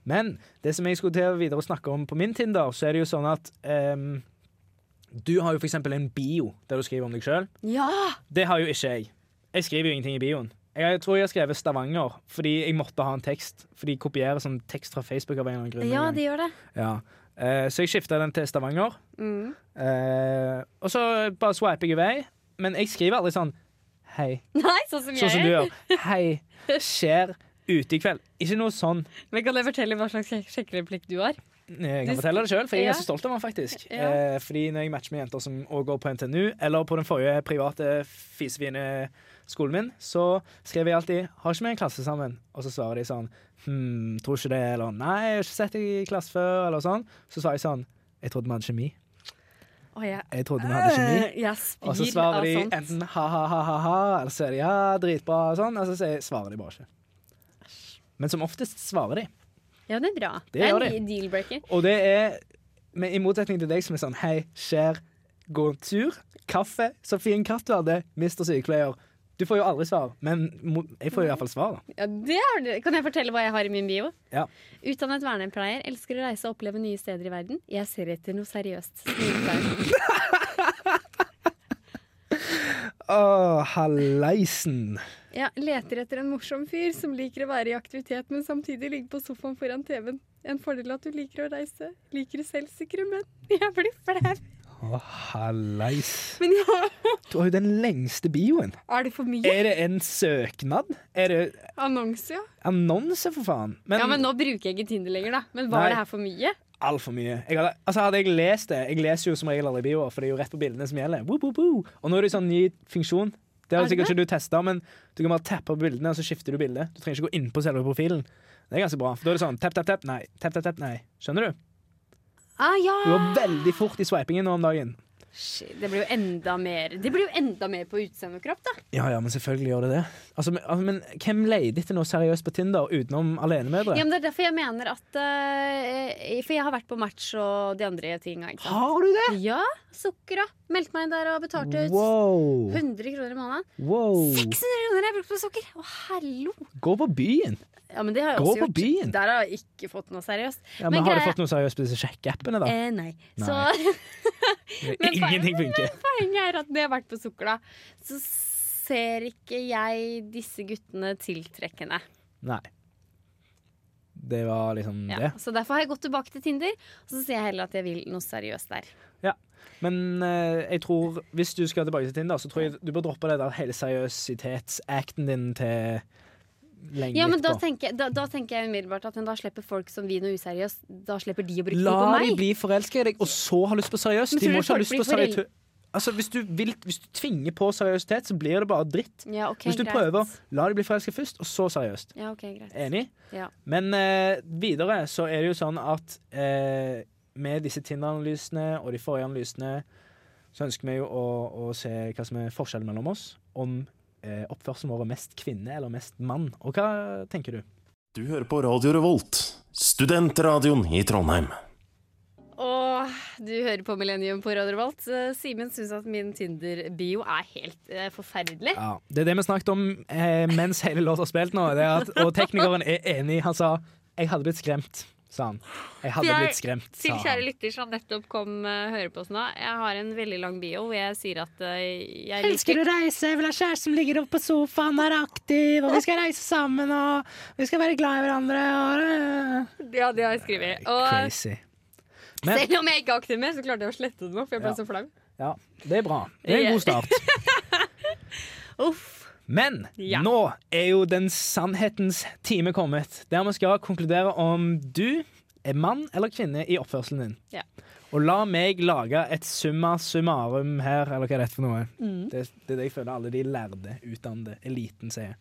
Speaker 2: Men det som jeg skulle til å videre å snakke om på min Tinder, så er det jo sånn at ehm, du har jo for eksempel en bio der du skriver om deg sjøl.
Speaker 1: Ja!
Speaker 2: Det har jo ikke jeg. Jeg skriver jo ingenting i bioen. Jeg tror jeg har skrevet Stavanger fordi jeg måtte ha en tekst. For de kopierer sånn tekst fra Facebook av en eller annen grunn.
Speaker 1: Ja,
Speaker 2: noen gang.
Speaker 1: det gjør det.
Speaker 2: Ja. Eh, så jeg skifta den til Stavanger.
Speaker 1: Mm.
Speaker 2: Eh, og så bare swiper jeg i vei. Men jeg skriver aldri sånn hei,
Speaker 1: Nei, sånn som
Speaker 2: sånn som
Speaker 1: jeg
Speaker 2: du
Speaker 1: gjør.
Speaker 2: gjør. Hei, skjer ute i kveld. Ikke noe sånn. eh,
Speaker 1: Men kan jeg fortelle hva slags sjek- sjekkereplikk du har?
Speaker 2: Jeg kan
Speaker 1: Du-
Speaker 2: fortelle det sjøl, for jeg
Speaker 1: Ja.
Speaker 2: er så stolt av den faktisk.
Speaker 1: Ja.
Speaker 2: Eh, fordi når jeg matcher med jenter som òg går på NTNU, eller på den forrige private fisefine skolen min, så skriver jeg alltid 'Har ikke vi en klasse sammen?' Og så svarer de sånn 'Hm, tror ikke det', eller 'Nei, jeg har ikke sett deg i klasse før', eller sånn. Så svarer jeg sånn 'Jeg trodde vi hadde kjemi'.
Speaker 1: Å, jeg, Øh,
Speaker 2: Jeg trodde vi hadde kjemi.
Speaker 1: jeg
Speaker 2: Og så
Speaker 1: spyr
Speaker 2: svarer
Speaker 1: av
Speaker 2: de
Speaker 1: sånt.
Speaker 2: enten ha-ha-ha-ha, eller så er de ja, dritbra, og sånn, og så sier- svarer de bare ikke. Men som oftest svarer de.
Speaker 1: Ja, det er bra.
Speaker 2: Det
Speaker 1: Det er
Speaker 2: gjør de.
Speaker 1: en deal-breaker.
Speaker 2: Og det er men I motsetning til deg som er sånn Hei, skjer, gå en tur, kaffe, så fin katt du hadde, mister sykepleier. Du får jo aldri svar, men mo- jeg får jo i hvert fall svar. da.
Speaker 1: Ja, det har du. Kan jeg fortelle hva jeg har i min bio?
Speaker 2: Ja.
Speaker 1: Utdannet vernepleier, elsker å reise og oppleve nye steder i verden. Jeg ser etter noe seriøst. Smilefjes.
Speaker 2: Å, halleisen.
Speaker 1: Ja, leter etter en morsom fyr som liker å være i aktivitet, men samtidig ligge på sofaen foran TV-en. En fordel at du liker å reise. Liker selvsikre menn. Jeg blir flau.
Speaker 2: Å, halleis.
Speaker 1: Men ja,
Speaker 2: Du har jo den lengste bioen.
Speaker 1: er det for mye?
Speaker 2: Er det en søknad? Er det
Speaker 1: Annonse, ja.
Speaker 2: annonse, for faen? Men,
Speaker 1: Ja, men nå bruker jeg ikke Tinder lenger, da. Men var
Speaker 2: Nei.
Speaker 1: det her for mye?
Speaker 2: altfor mye. Jeg hadde, altså, hadde jeg lest det Jeg leser jo som regel aldri bioer, for det er jo rett på bildene som gjelder. Woo, woo, woo. Og nå er det jo sånn ny funksjon. Det
Speaker 1: Er
Speaker 2: har
Speaker 1: det
Speaker 2: sikkert ikke du testa, men du kan bare tappe på bildene, og så skifter du bilde. Du trenger ikke gå inn på selve profilen. Det er ganske bra. For da er det sånn tapp, tapp, tapp, nei. Tapp, tapp, tapp, nei. Skjønner du?
Speaker 1: Ah, ja.
Speaker 2: Du går veldig fort i swipingen nå om dagen.
Speaker 1: Shit, Det blir jo enda mer Det blir jo enda mer på utseende og kropp, da.
Speaker 2: Ja ja, men selvfølgelig gjør det det. Altså, men, altså, men hvem leter etter noe seriøst på Tinder utenom alenemødre?
Speaker 1: Ja, men det er derfor jeg mener at eh, For jeg har vært på match og de andre tinga. ikke sant?
Speaker 2: Har du det?!
Speaker 1: Ja, sukkera. Meldte meg inn der og betalte ut
Speaker 2: Wow.
Speaker 1: 100 kroner i måneden.
Speaker 2: wow.
Speaker 1: 600 kroner jeg brukte på sukker! Å, hallo!
Speaker 2: Gå på byen!
Speaker 1: Ja, men det har jeg
Speaker 2: Gå
Speaker 1: også
Speaker 2: på
Speaker 1: gjort.
Speaker 2: byen.
Speaker 1: Der har jeg ikke fått noe seriøst.
Speaker 2: Ja, men, har du
Speaker 1: greia-
Speaker 2: fått noe seriøst på disse sjekkeappene, da?
Speaker 1: Eh, nei.
Speaker 2: Nei.
Speaker 1: Så Eh, men faen-
Speaker 2: Ingenting funker.
Speaker 1: poenget er at når jeg har vært på sukkera, så ser ikke jeg disse guttene tiltrekkende.
Speaker 2: Nei. det var liksom
Speaker 1: Ja,
Speaker 2: det.
Speaker 1: så derfor har jeg gått tilbake til Tinder, og så sier jeg heller at jeg vil noe seriøst der.
Speaker 2: Men eh, jeg tror, hvis du skal tilbake til Tinder, så tror jeg du bør droppe det der hele seriøsitetsacten din til lenge
Speaker 1: Ja, men da
Speaker 2: etterpå.
Speaker 1: tenker, jeg, da, da tenker jeg umiddelbart at men da slipper folk som vil noe useriøst, da slipper de å bruke tid på
Speaker 2: La de
Speaker 1: meg.
Speaker 2: bli forelska i deg, og så ha lyst på seriøst.
Speaker 1: Men
Speaker 2: De
Speaker 1: tror
Speaker 2: må
Speaker 1: du
Speaker 2: ikke ha
Speaker 1: folk
Speaker 2: lyst
Speaker 1: blir
Speaker 2: på
Speaker 1: forel-
Speaker 2: seriøst. Altså, hvis, du vil, hvis du tvinger på seriøsitet, så blir det bare dritt.
Speaker 1: Ja, ok,
Speaker 2: Hvis du
Speaker 1: greit.
Speaker 2: prøver, Eh, la de bli forelska først, og så seriøst.
Speaker 1: Ja, ok, greit.
Speaker 2: Enig?
Speaker 1: Ja.
Speaker 2: Men eh, videre så er det jo sånn at eh, med disse Tinder-analysene og de forrige analysene, så ønsker vi jo å, å se hva som er forskjellen mellom oss. Om eh, oppførselen vår er mest kvinne eller mest mann. Og hva tenker du?
Speaker 4: Du hører på Radio Revolt, studentradioen i Trondheim.
Speaker 1: Og du hører på Millennium på Radio Revolt. Eh, Simen syns at min Tinder-bio er helt eh, forferdelig.
Speaker 2: Ja, Det er det vi snakket om eh, mens hele låta har spilt nå. Det er at, og teknikeren er enig. Han sa 'jeg hadde blitt skremt', sa han. 'Jeg hadde
Speaker 1: Jeg-
Speaker 2: blitt skremt',
Speaker 1: Til
Speaker 2: sa
Speaker 1: kjære
Speaker 2: han.
Speaker 1: lytter som nettopp kom eh, hører på oss nå, jeg har en veldig lang bio hvor jeg sier at eh, jeg
Speaker 2: Elsker
Speaker 1: liker
Speaker 2: å reise, vil ha kjæreste som ligger oppe på sofaen, er aktiv, og vi skal reise sammen, og vi skal være glad i hverandre. Og... øh.
Speaker 1: Ja, det har jeg skrevet. Og
Speaker 2: Crazy. Men
Speaker 1: selv om jeg ikke er aktiv med, så klarte jeg å slette det nå, for jeg ble
Speaker 2: Ja.
Speaker 1: så flau.
Speaker 2: ja, det er bra. Det er en god start.
Speaker 1: Uff.
Speaker 2: Men
Speaker 1: Ja.
Speaker 2: nå er jo den sannhetens time kommet, der vi skal konkludere om du er mann eller kvinne i oppførselen din.
Speaker 1: Ja.
Speaker 2: Og la meg lage et summa summarum her, eller hva er dette for noe?
Speaker 1: Mm.
Speaker 2: Det, det er det jeg føler alle de lærde, utdannede, eliten sier.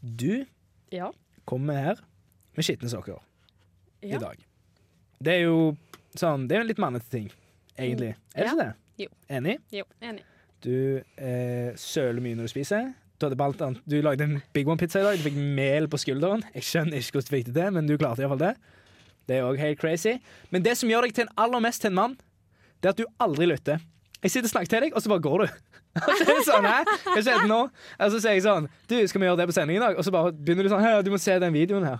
Speaker 2: Du
Speaker 1: Ja.
Speaker 2: kommer her med skitne sokker
Speaker 1: Ja.
Speaker 2: i dag. Det er jo sånn, det er jo en litt mannete ting, egentlig. Er
Speaker 1: Ja.
Speaker 2: det ikke det?
Speaker 1: Jo.
Speaker 2: Enig?
Speaker 1: Jo, enig.
Speaker 2: Du eh, søler mye når du spiser. Du, hadde blant annet, du lagde en Big One-pizza i dag. Du fikk mel på skulderen. Jeg skjønner ikke hvordan du fikk det til, men du klarte iallfall det. Det er òg helt crazy. Men det som gjør deg til en aller mest til en mann, det er at du aldri lytter. Jeg sitter og snakker til deg, og så bare går du. Og så er det sånn, hæ? Hva skjedde nå? Og så sier jeg sånn Du, skal vi gjøre det på sending i dag? Og så bare begynner du sånn Hei, du må se den videoen her.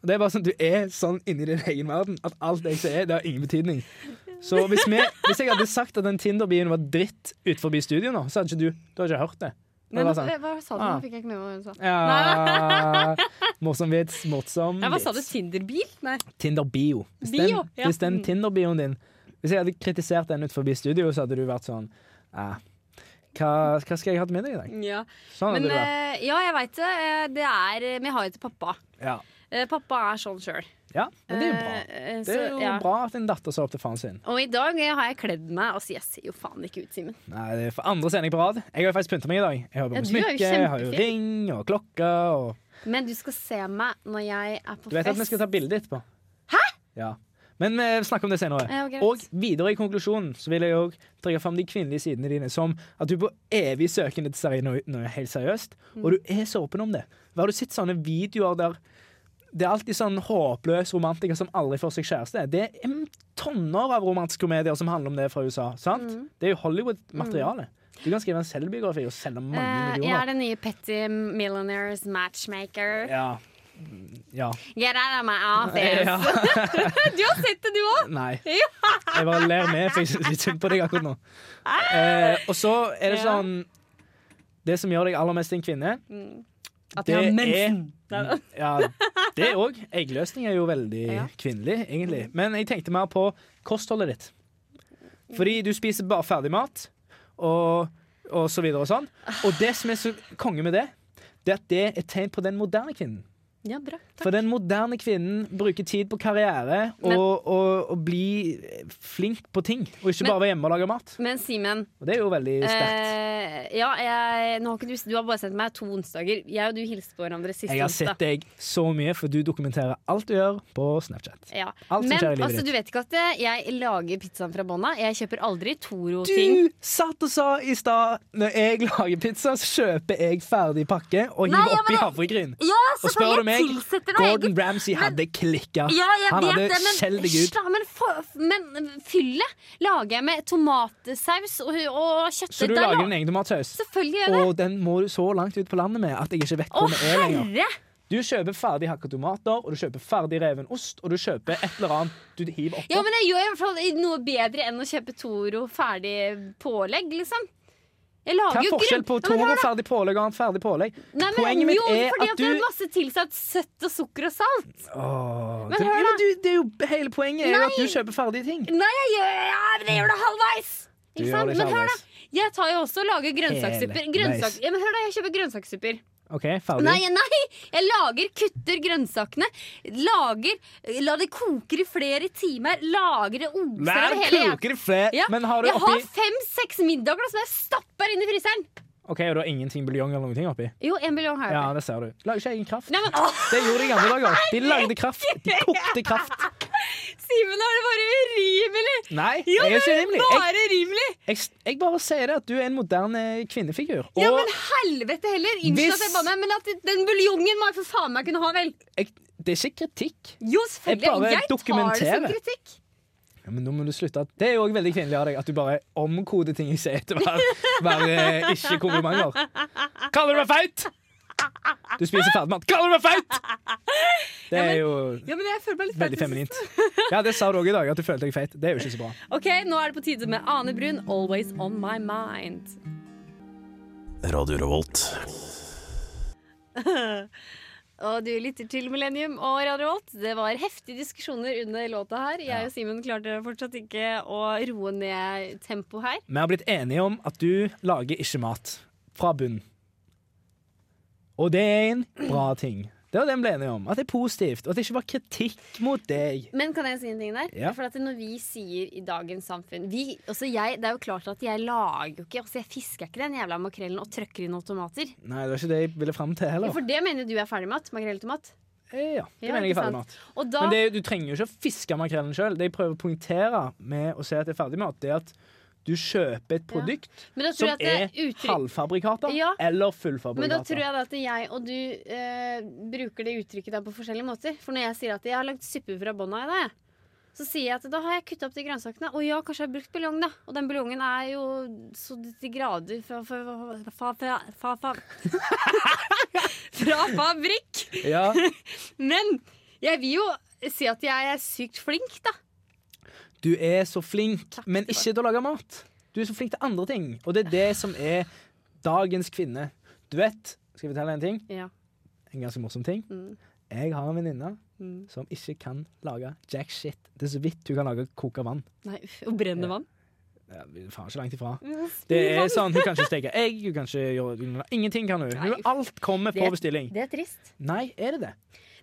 Speaker 2: Og det er bare sånn, Du er sånn inni din egen verden at alt jeg sier, det har ingen betydning. Så hvis, vi, hvis jeg hadde sagt at den Tinder-bien var dritt utenfor studio nå, så hadde ikke du Du hadde ikke hørt det. det
Speaker 1: Men,
Speaker 2: var sånn,
Speaker 1: hva, hva sa du? Nå
Speaker 2: Ah.
Speaker 1: fikk jeg ikke med meg hva hun sa.
Speaker 2: ja, morsom vits, morsom
Speaker 1: Ja, hva sa du?
Speaker 2: vits.
Speaker 1: Tinder-bil? Nei.
Speaker 2: Tinder-bio. Hvis den,
Speaker 1: Bio, ja.
Speaker 2: hvis den
Speaker 1: Mm.
Speaker 2: Tinder-bioen din Hvis jeg hadde kritisert den utenfor studio, så hadde du vært sånn eh, hva, hva skal jeg ha til middag i dag?
Speaker 1: Ja.
Speaker 2: Sånn
Speaker 1: Men
Speaker 2: hadde du vært.
Speaker 1: eh, ja, jeg veit det. Eh, Det er Men jeg har jo til pappa.
Speaker 2: Ja.
Speaker 1: Eh, Pappa er sånn sjøl.
Speaker 2: ja, men det er jo
Speaker 1: Eh,
Speaker 2: bra. Det er jo bra at en datter så opp til faren sin.
Speaker 1: Og i dag eh, har jeg kledd meg Altså, jeg ser jo faen ikke ut, Simen.
Speaker 2: Nei, det er for andre sending på rad. Jeg har jo faktisk pynta meg i dag. Jeg har på
Speaker 1: Ja,
Speaker 2: meg
Speaker 1: du er jo
Speaker 2: smykke, jeg har jo
Speaker 1: kjempefin.
Speaker 2: ring og klokke og
Speaker 1: Men du skal se meg når jeg er på
Speaker 2: Du vet at vi
Speaker 1: fest.
Speaker 2: skal ta bilde etterpå. Hæ? Ja. Men vi snakker om det senere.
Speaker 1: Ja, greit.
Speaker 2: og videre i konklusjonen så vil jeg òg trekke fram de kvinnelige sidene dine som at du er på evig søken etter seri noe, noe helt seriøst,
Speaker 1: Mm.
Speaker 2: og du er så åpen om det. Hva har du sett sånne videoer der det er alltid sånn håpløs romantiker som aldri får seg kjæreste. Det er tonner av romantiske komedier som handler om det fra USA. sant?
Speaker 1: Mm.
Speaker 2: Det er jo Hollywood-materiale. Du kan skrive en selvbiografi og selge mange
Speaker 1: Eh, jeg er
Speaker 2: millioner.
Speaker 1: den nye Petty Millionaires matchmaker.
Speaker 2: Ja. ja.
Speaker 1: Get out of my office!
Speaker 2: ja.
Speaker 1: Du har sett det, du òg!
Speaker 2: Nei. Jeg bare ler med, for jeg syns litt synd på deg akkurat nå. Eh, og så er det
Speaker 1: Ja.
Speaker 2: sånn Det som gjør deg aller mest til en kvinne,
Speaker 1: Mm. At
Speaker 2: det
Speaker 1: jeg har
Speaker 2: er
Speaker 1: mensen. Neida.
Speaker 2: ja, Det òg. Eggløsning er jo veldig
Speaker 1: Ja.
Speaker 2: kvinnelig, egentlig. Men jeg tenkte mer på kostholdet ditt. Fordi du spiser bare ferdig mat, og, og så videre og sånn. Og det som er så konge med det, det er at det er et tegn på den moderne kvinnen.
Speaker 1: Ja, bra. Takk.
Speaker 2: For den moderne kvinnen bruker tid på karriere og,
Speaker 1: Men-
Speaker 2: og, og bli flink på ting, og ikke
Speaker 1: Men-
Speaker 2: bare være hjemme og lage mat.
Speaker 1: Men Simen,
Speaker 2: Og det er jo veldig sterkt.
Speaker 1: eh, ja, jeg, nå har ikke du, du har bare sendt meg to onsdager. Jeg og du hilste på hverandre sist
Speaker 2: Jeg har sett
Speaker 1: onsdag.
Speaker 2: deg så mye, for du dokumenterer alt du gjør på Snapchat.
Speaker 1: Ja.
Speaker 2: Alt som
Speaker 1: Men
Speaker 2: skjer i livet
Speaker 1: altså,
Speaker 2: ditt.
Speaker 1: du vet ikke at eh, jeg lager pizzaen fra bånna. Jeg kjøper aldri Toro-ting.
Speaker 2: Du satt og sa i stad når jeg lager pizza, så kjøper jeg ferdig pakke og
Speaker 1: Nei,
Speaker 2: hiver
Speaker 1: ja,
Speaker 2: oppi
Speaker 1: men-
Speaker 2: havregryn.
Speaker 1: Ja,
Speaker 2: Og spør du meg, Gordon Ramsay hadde
Speaker 1: Ja,
Speaker 2: klikka.
Speaker 1: jeg
Speaker 2: Han
Speaker 1: vet
Speaker 2: hadde
Speaker 1: det, men,
Speaker 2: skjell deg ut.
Speaker 1: Ja, men, for- men fyllet lager jeg med tomatsaus og, og kjøttdeig.
Speaker 2: Så du lager din egen tomatsaus.
Speaker 1: Selvfølgelig gjør jeg det.
Speaker 2: Og den må du så langt ut på landet med at jeg ikke vet
Speaker 1: Å,
Speaker 2: hvor den er lenger.
Speaker 1: herre!
Speaker 2: Du kjøper ferdig hakka tomater, og du kjøper ferdig reven ost, og du kjøper et eller annet du hiver oppå.
Speaker 1: Ja, men jeg gjør i hvert fall noe bedre enn å kjøpe Toro ferdig pålegg, liksom. Jeg
Speaker 2: Hva
Speaker 1: lager
Speaker 2: er
Speaker 1: jo
Speaker 2: forskjell
Speaker 1: grunn-
Speaker 2: på
Speaker 1: Nei, men hør
Speaker 2: toro, ferdig pålegg og annet ferdig pålegg?
Speaker 1: Nei, men,
Speaker 2: Poenget mitt
Speaker 1: jo,
Speaker 2: er
Speaker 1: fordi
Speaker 2: at
Speaker 1: det er
Speaker 2: du
Speaker 1: masse tilsatt søtt og sukker og salt.
Speaker 2: Åh,
Speaker 1: Men
Speaker 2: det,
Speaker 1: hør
Speaker 2: ja, men
Speaker 1: da.
Speaker 2: du, det er jo Hele poenget er jo at du kjøper ferdige ting.
Speaker 1: Nei, jeg gjør, ja, men jeg gjør det halvveis!
Speaker 2: Du
Speaker 1: Ikke
Speaker 2: gjør
Speaker 1: sant?
Speaker 2: det
Speaker 1: Men hør,
Speaker 2: halvveis.
Speaker 1: da. Jeg tar jo også og lager grønnsakssupper.
Speaker 2: Hele
Speaker 1: Grønnsak,
Speaker 2: veis.
Speaker 1: ja, men hør da, jeg kjøper grønnsakssupper.
Speaker 2: OK, ferdig.
Speaker 1: Nei, nei! Jeg lager, kutter grønnsakene. Lager, la det koke i flere timer. Lager det oser
Speaker 2: Hver
Speaker 1: over hele jævla-
Speaker 2: koker i fred,
Speaker 1: Ja,
Speaker 2: men har du
Speaker 1: jeg
Speaker 2: oppi
Speaker 1: har fem-seks middager da, som jeg stapper inn i fryseren.
Speaker 2: OK, og du har ingenting buljong eller noen ting oppi?
Speaker 1: Jo, en million har jeg.
Speaker 2: Ja, det ser du. Lager ikke egen kraft.
Speaker 1: Nei, men åh,
Speaker 2: Det gjorde de i gamle dager. De lagde kraft. De kokte kraft.
Speaker 1: Simen, nå er det bare urimelig!
Speaker 2: Nei,
Speaker 1: Jo,
Speaker 2: jeg er
Speaker 1: det
Speaker 2: ikke
Speaker 1: er
Speaker 2: rimelig. Jeg,
Speaker 1: bare urimelig!
Speaker 2: jeg, jeg bare sier det at du er en moderne kvinnefigur.
Speaker 1: Ja,
Speaker 2: Og
Speaker 1: men helvete heller! Unnskyld
Speaker 2: Hvis-
Speaker 1: at jeg banna, men at den buljongen må jeg for faen meg kunne ha, vel!
Speaker 2: jeg, det er ikke kritikk.
Speaker 1: Jo, selvfølgelig.
Speaker 2: Jeg bare
Speaker 1: Jeg, tar det som
Speaker 2: dokumenterer.
Speaker 1: kritikk.
Speaker 2: Ja, men nå må du slutte. at- Det er jo òg veldig kvinnelig av deg at du bare omkoder ting jeg sier til hver, hver eh, ikke-komplimenter. Kaller du meg feit? Du spiser ferdigmat. Kaller du meg feit? Det er jo
Speaker 1: Ja, men jeg føler meg litt
Speaker 2: Veldig
Speaker 1: feil.
Speaker 2: feminint. Ja, det sa du òg i dag, at du følte deg feit. Det er jo ikke så bra.
Speaker 1: Ok, nå er det på tide med Ane Brun, 'Always On My Mind'.
Speaker 4: Radio Revolt.
Speaker 1: Og du lytter til Millennium og Radio Volt. Det var heftige diskusjoner under låta her. Jeg og Simen klarte fortsatt ikke å roe ned tempoet her.
Speaker 2: Vi har blitt enige om at du lager ikke mat fra bunn. Og det er en bra ting. Det var det vi ble enige om. At det er positivt, og at det ikke var kritikk mot deg.
Speaker 1: Men kan jeg si en ting der?
Speaker 2: Ja.
Speaker 1: For at når vi sier i dagens samfunn vi, også jeg, Det er jo klart at jeg lager jo ikke altså Jeg fisker ikke den jævla makrellen og trøkker inn noen tomater.
Speaker 2: Nei, det var ikke det jeg ville fram til heller.
Speaker 1: For det mener jo du er ferdig med at makrell i tomat.
Speaker 2: Eh, Ja, det
Speaker 1: Ja,
Speaker 2: mener jeg
Speaker 1: ikke
Speaker 2: er
Speaker 1: sant?
Speaker 2: ferdig mat.
Speaker 1: Og da
Speaker 2: Men det, er- du trenger jo ikke å fiske makrellen sjøl. Det jeg prøver å poengtere med å si at det er ferdig mat, det er at du kjøper et produkt
Speaker 1: men da tror
Speaker 2: som
Speaker 1: jeg at det
Speaker 2: er
Speaker 1: er uttrykk
Speaker 2: halvfabrikater
Speaker 1: Ja.
Speaker 2: eller
Speaker 1: Men da tror
Speaker 2: fullfabrikater.
Speaker 1: jeg da at jeg og du eh, bruker det uttrykket der på forskjellige måter. For når jeg sier at jeg har lagd suppe fra bånda i dag, så sier jeg at da har jeg kutta opp de grønnsakene. Og ja, kanskje jeg har brukt buljong, da. Og den buljongen er jo så til grader fra fra fra, fra, fra, fra, fra fabrikk.
Speaker 2: Ja,
Speaker 1: Men jeg vil jo si at jeg er sykt flink, da.
Speaker 2: Du er så flink, men ikke til å lage mat. Du er så flink til andre ting, og det er det som er dagens kvinne. Du vet, skal jeg fortelle deg en ting?
Speaker 1: Ja.
Speaker 2: En ganske morsom ting.
Speaker 1: Mm.
Speaker 2: Jeg har en venninne
Speaker 1: Mm.
Speaker 2: som ikke kan lage jack shit. Det er så vidt hun kan lage koka vann.
Speaker 1: Nei, uff. Og brenne vann.
Speaker 2: Ja, vi er Faen, ikke langt ifra.
Speaker 1: Mm,
Speaker 2: Det er
Speaker 1: vann.
Speaker 2: sånn, Hun kan ikke steke egg, hun kan ikke gjøre ingenting. kan hun.
Speaker 1: Nei,
Speaker 2: hun alt kommer på
Speaker 1: Det-
Speaker 2: bestilling.
Speaker 1: Det er trist.
Speaker 2: Nei, er det det?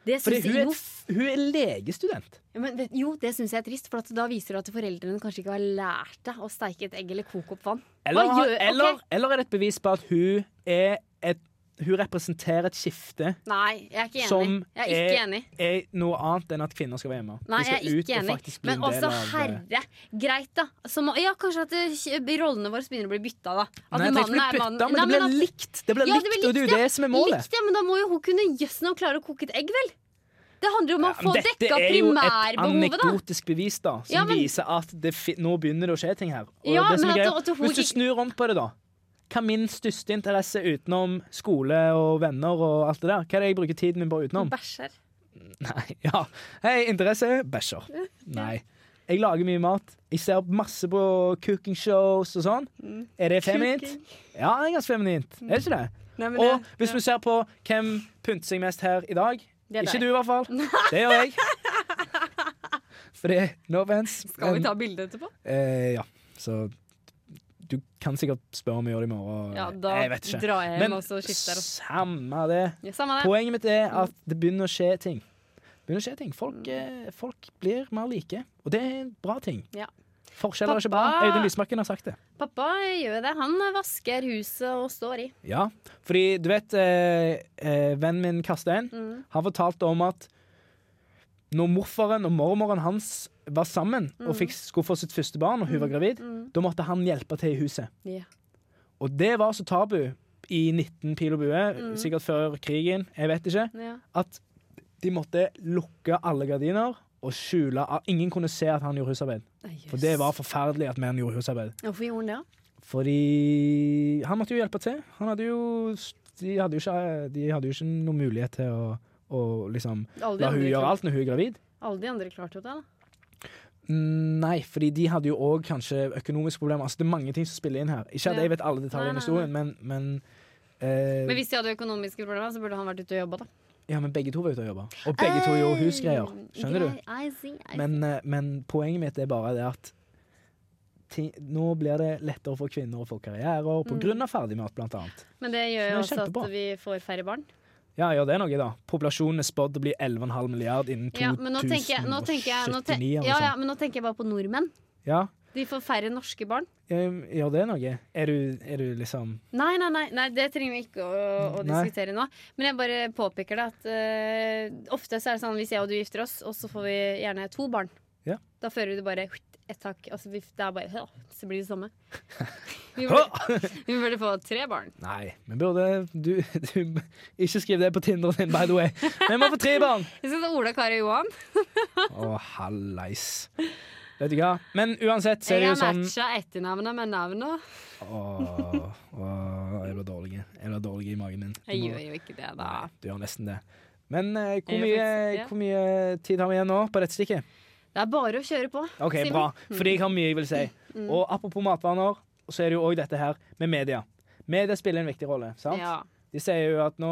Speaker 1: Det
Speaker 2: For
Speaker 1: syns
Speaker 2: hun
Speaker 1: jeg
Speaker 2: er,
Speaker 1: jo
Speaker 2: et- hun er legestudent.
Speaker 1: Ja, men vet, jo, det syns jeg er trist, for at da viser det at foreldrene kanskje ikke har lært deg å steike et egg eller koke opp vann.
Speaker 2: Eller,
Speaker 1: Hva
Speaker 2: har-
Speaker 1: gjør- ok.
Speaker 2: eller, eller er det et bevis på at hun er et Hun representerer et skifte
Speaker 1: Nei, jeg er ikke enig.
Speaker 2: Som
Speaker 1: jeg er ikke
Speaker 2: er-
Speaker 1: enig.
Speaker 2: er noe annet enn at kvinner skal være hjemme.
Speaker 1: Nei, jeg
Speaker 2: De skal
Speaker 1: er
Speaker 2: ut
Speaker 1: ikke
Speaker 2: og
Speaker 1: enig.
Speaker 2: faktisk bli
Speaker 1: Men
Speaker 2: en del
Speaker 1: også
Speaker 2: av- eh,
Speaker 1: herre, greit da. Som, ja, kanskje at eh, rollene våre begynner å bli bytta, da. At
Speaker 2: Nei,
Speaker 1: Altså,
Speaker 2: det
Speaker 1: mannen
Speaker 2: blir
Speaker 1: er
Speaker 2: bytta,
Speaker 1: mannen-
Speaker 2: men
Speaker 1: Nei,
Speaker 2: det blir
Speaker 1: at-
Speaker 2: likt. Det blir
Speaker 1: Ja,
Speaker 2: likt, og det er jo det som er målet.
Speaker 1: Likt, ja, men da må jo hun kunne jøssen og klare å koke et egg, vel? Det handler jo om å
Speaker 2: Men
Speaker 1: få dekka primærbehovet, da.
Speaker 2: anekdotisk bevis da som
Speaker 1: Ja, men-
Speaker 2: viser at det fi nå begynner det å skje ting her. Og
Speaker 1: Ja,
Speaker 2: det som
Speaker 1: men
Speaker 2: er
Speaker 1: at-
Speaker 2: greia-
Speaker 1: at hun
Speaker 2: Hvis du
Speaker 1: ikke-
Speaker 2: snur om på det, da. Hva er min største interesse utenom skole og venner og alt det der? Hva er det jeg bruker tiden min på utenom?
Speaker 1: Bæsjer.
Speaker 2: Nei, ja. Hei, interesse? Bæsjer. Nei. Jeg lager mye mat. Jeg ser masse på cooking shows og sånn.
Speaker 1: Mm.
Speaker 2: Er det feminint? Ja, det er ganske feminint. Er det ikke det?
Speaker 1: Nei, men
Speaker 2: Og
Speaker 1: det-
Speaker 2: hvis du ser på hvem pynter seg mest her i dag
Speaker 1: Det er
Speaker 2: Ikke
Speaker 1: deg.
Speaker 2: du, i hvert fall. Det gjør jeg. For det er no offense.
Speaker 1: Skal vi
Speaker 2: men,
Speaker 1: ta bilde etterpå?
Speaker 2: Eh, ja, så du kan sikkert spørre om vi gjør det i morgen.
Speaker 1: Ja, da
Speaker 2: jeg vet ikke.
Speaker 1: drar jeg hjem
Speaker 2: Men
Speaker 1: og så skifter jeg, da.
Speaker 2: samme det.
Speaker 1: Ja, samme det.
Speaker 2: Poenget mitt er at det begynner å skje ting. Det Begynner å skje ting. Folk, eh, folk blir mer like, og det er en bra ting.
Speaker 1: Mm. Ja.
Speaker 2: Forskjeller er ikke bra.
Speaker 1: Pappa!
Speaker 2: Audun Lysbakken har sagt det.
Speaker 1: Pappa gjør det. Han vasker huset og står i.
Speaker 2: Ja, fordi du vet eh, eh, Vennen min Karstein har fortalt om at når morfaren og mormoren hans var sammen og fikk, skulle få sitt første barn, og hun var gravid, da måtte han hjelpe til i huset.
Speaker 1: Ja.
Speaker 2: Og det var så tabu i 19 pil og bue, sikkert før krigen, jeg vet ikke,
Speaker 1: Ja.
Speaker 2: at de måtte lukke alle gardiner og skjule at ingen kunne se at han gjorde husarbeid. For det var forferdelig at menn gjorde husarbeid.
Speaker 1: Hvorfor gjorde han det? da?
Speaker 2: Fordi han måtte jo hjelpe til. Han hadde jo, de, hadde jo ikke, de hadde jo ikke noen mulighet til å, å liksom
Speaker 1: Alle de
Speaker 2: la
Speaker 1: andre
Speaker 2: hun gjøre
Speaker 1: klarte-
Speaker 2: alt når hun er gravid.
Speaker 1: Alle de andre klarte jo det, da.
Speaker 2: Nei, fordi de hadde jo òg kanskje økonomiske problemer. Altså Det er mange ting som spiller inn her. Ikke at
Speaker 1: Ja.
Speaker 2: jeg vet alle detaljene
Speaker 1: Nei, nei,
Speaker 2: i historien, men, men, eh,
Speaker 1: Men hvis de hadde økonomiske problemer, så burde han vært ute og jobba, da.
Speaker 2: Ja, men begge to var ute og jobba. Og begge to gjorde husgreier. Skjønner du?
Speaker 1: Um, I see, I see.
Speaker 2: Men, eh, men poenget mitt er bare det at ting, nå blir det lettere for kvinner å få karrierer
Speaker 1: Mm.
Speaker 2: på grunn av ferdigmat, blant annet.
Speaker 5: Men det gjør
Speaker 2: Det er
Speaker 5: jo også at
Speaker 2: kjempebra.
Speaker 5: vi får færre barn.
Speaker 2: Ja, gjør det noe, da. Populasjonen er spådd å bli 11,5 milliard innen
Speaker 1: ja, men nå tenker jeg, nå tenker jeg, nå ten
Speaker 2: 2079 eller
Speaker 1: ja,
Speaker 2: noe
Speaker 1: ja,
Speaker 2: sånt.
Speaker 1: men nå tenker jeg bare på nordmenn.
Speaker 2: Ja,
Speaker 1: De får færre norske barn.
Speaker 2: eh, gjør det noe? Er du, er du liksom
Speaker 1: Nei, nei, nei, nei det trenger vi ikke å, å
Speaker 2: Nei.
Speaker 1: diskutere nå. Men jeg bare påpeker det at eh, ofte så er det sånn hvis jeg og du gifter oss, og så får vi gjerne to barn.
Speaker 2: Ja.
Speaker 1: Da fører vi det bare ett tak. Altså, vi, det er bare, ja, så blir det samme. Vi
Speaker 2: Hå!
Speaker 1: burde, vi burde få tre barn.
Speaker 2: Nei, vi burde du, du, Ikke skriv det på Tinderen din, by the way. Vi må få tre barn!
Speaker 1: Jeg synes det er Ola Kari og Johan.
Speaker 2: Å, hallais. Vet du hva? Men uansett så er
Speaker 1: Jeg
Speaker 2: det
Speaker 1: har
Speaker 2: jo sånn
Speaker 1: matcha etternavnet med navnet.
Speaker 2: Åh, åh, jeg blir dårlig. Jeg blir dårlig i magen min. Du
Speaker 1: Jeg
Speaker 2: må-
Speaker 1: gjør jo ikke det, da.
Speaker 2: Nei, du gjør nesten det. Men eh, hvor,
Speaker 1: Jeg gjør
Speaker 2: mye,
Speaker 1: faktisk ikke det.
Speaker 2: hvor mye tid har vi igjen nå på dette stikket?
Speaker 1: Det er bare å kjøre på.
Speaker 2: OK,
Speaker 1: Simen.
Speaker 2: bra. Fordi jeg
Speaker 1: Mm.
Speaker 2: har mye jeg vil si. Og apropos matvaner, så er det jo òg dette her med media. Media spiller en viktig rolle, sant?
Speaker 1: Ja.
Speaker 2: De sier jo at nå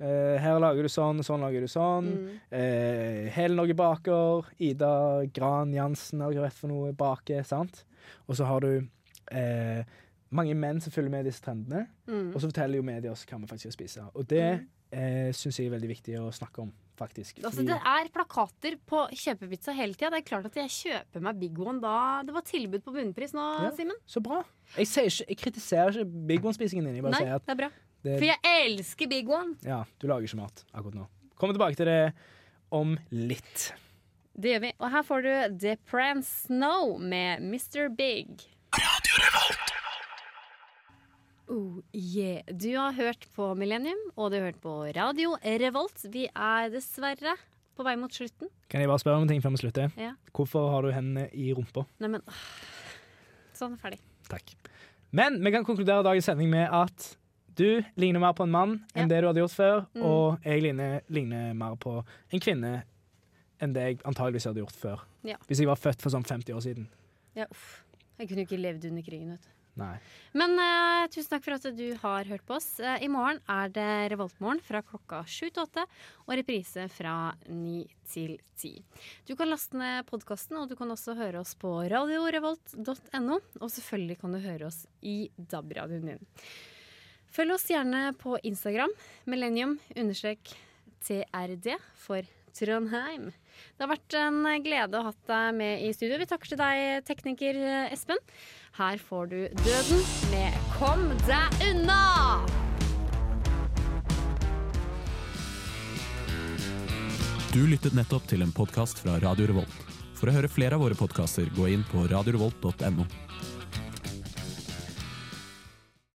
Speaker 2: eh, her lager du sånn, sånn lager du sånn.
Speaker 1: Mm.
Speaker 2: Eh, Hele Norge baker. Ida Gran Jansen har rett for noe baker, sant? Og så har du eh, mange menn som følger med i disse trendene.
Speaker 1: Mm.
Speaker 2: Og så forteller jo media oss hva vi faktisk skal spise. Og det eh, syns jeg er veldig viktig å snakke om, faktisk.
Speaker 1: Altså, det er plakater på kjøpepizza hele tida. Det er klart at jeg kjøper meg Big One da det var tilbud på bunnpris nå,
Speaker 2: Ja.
Speaker 1: Simen.
Speaker 2: Så bra. Jeg, sier ikke, jeg kritiserer ikke Big One-spisingen din. Jeg bare
Speaker 1: Nei,
Speaker 2: sier at
Speaker 1: det er bra. For
Speaker 2: det,
Speaker 1: jeg elsker Big One.
Speaker 2: ja, du lager ikke mat akkurat nå. Kommer tilbake til det om litt.
Speaker 1: Det gjør vi. Og her får du The Prance Snow med Mr. Big. Oh, yeah. Du har hørt på Millennium, og du har hørt på Radio Revolt. Vi er dessverre på vei mot slutten.
Speaker 2: Kan jeg bare spørre om en ting før vi slutter?
Speaker 1: Ja.
Speaker 2: Hvorfor har du hendene i rumpa?
Speaker 1: Nei, men åh. Sånn, ferdig.
Speaker 2: Takk. Men vi kan konkludere dagens sending med at du ligner mer på en mann enn
Speaker 1: Ja. Mm.
Speaker 2: det du hadde gjort før, og jeg ligner, ligner mer på en kvinne enn det jeg antageligvis hadde gjort før.
Speaker 1: Ja.
Speaker 2: Hvis jeg var født for sånn 50 år siden.
Speaker 1: Ja, uff. Jeg kunne jo ikke levd under krigen, vet du.
Speaker 2: Nei.
Speaker 1: Men eh, tusen takk for at du har hørt på oss. Eh, I morgen er det Revoltmorgen fra klokka sju til åtte, og reprise fra ni til ti. Du kan laste ned podkasten, og du kan også høre oss på radiorevolt.no. Og selvfølgelig kan du høre oss i DAB-radioen din. Følg oss gjerne på Instagram, millennium-trd for Trondheim. Det har vært en glede å ha deg med i studio. Vi takker til deg, tekniker eh, Espen. Her får du Døden med Kom deg unna!
Speaker 6: Du lyttet nettopp til en podkast fra Radio Revolt. For å høre flere av våre podkaster, gå inn på radiorevolt.no.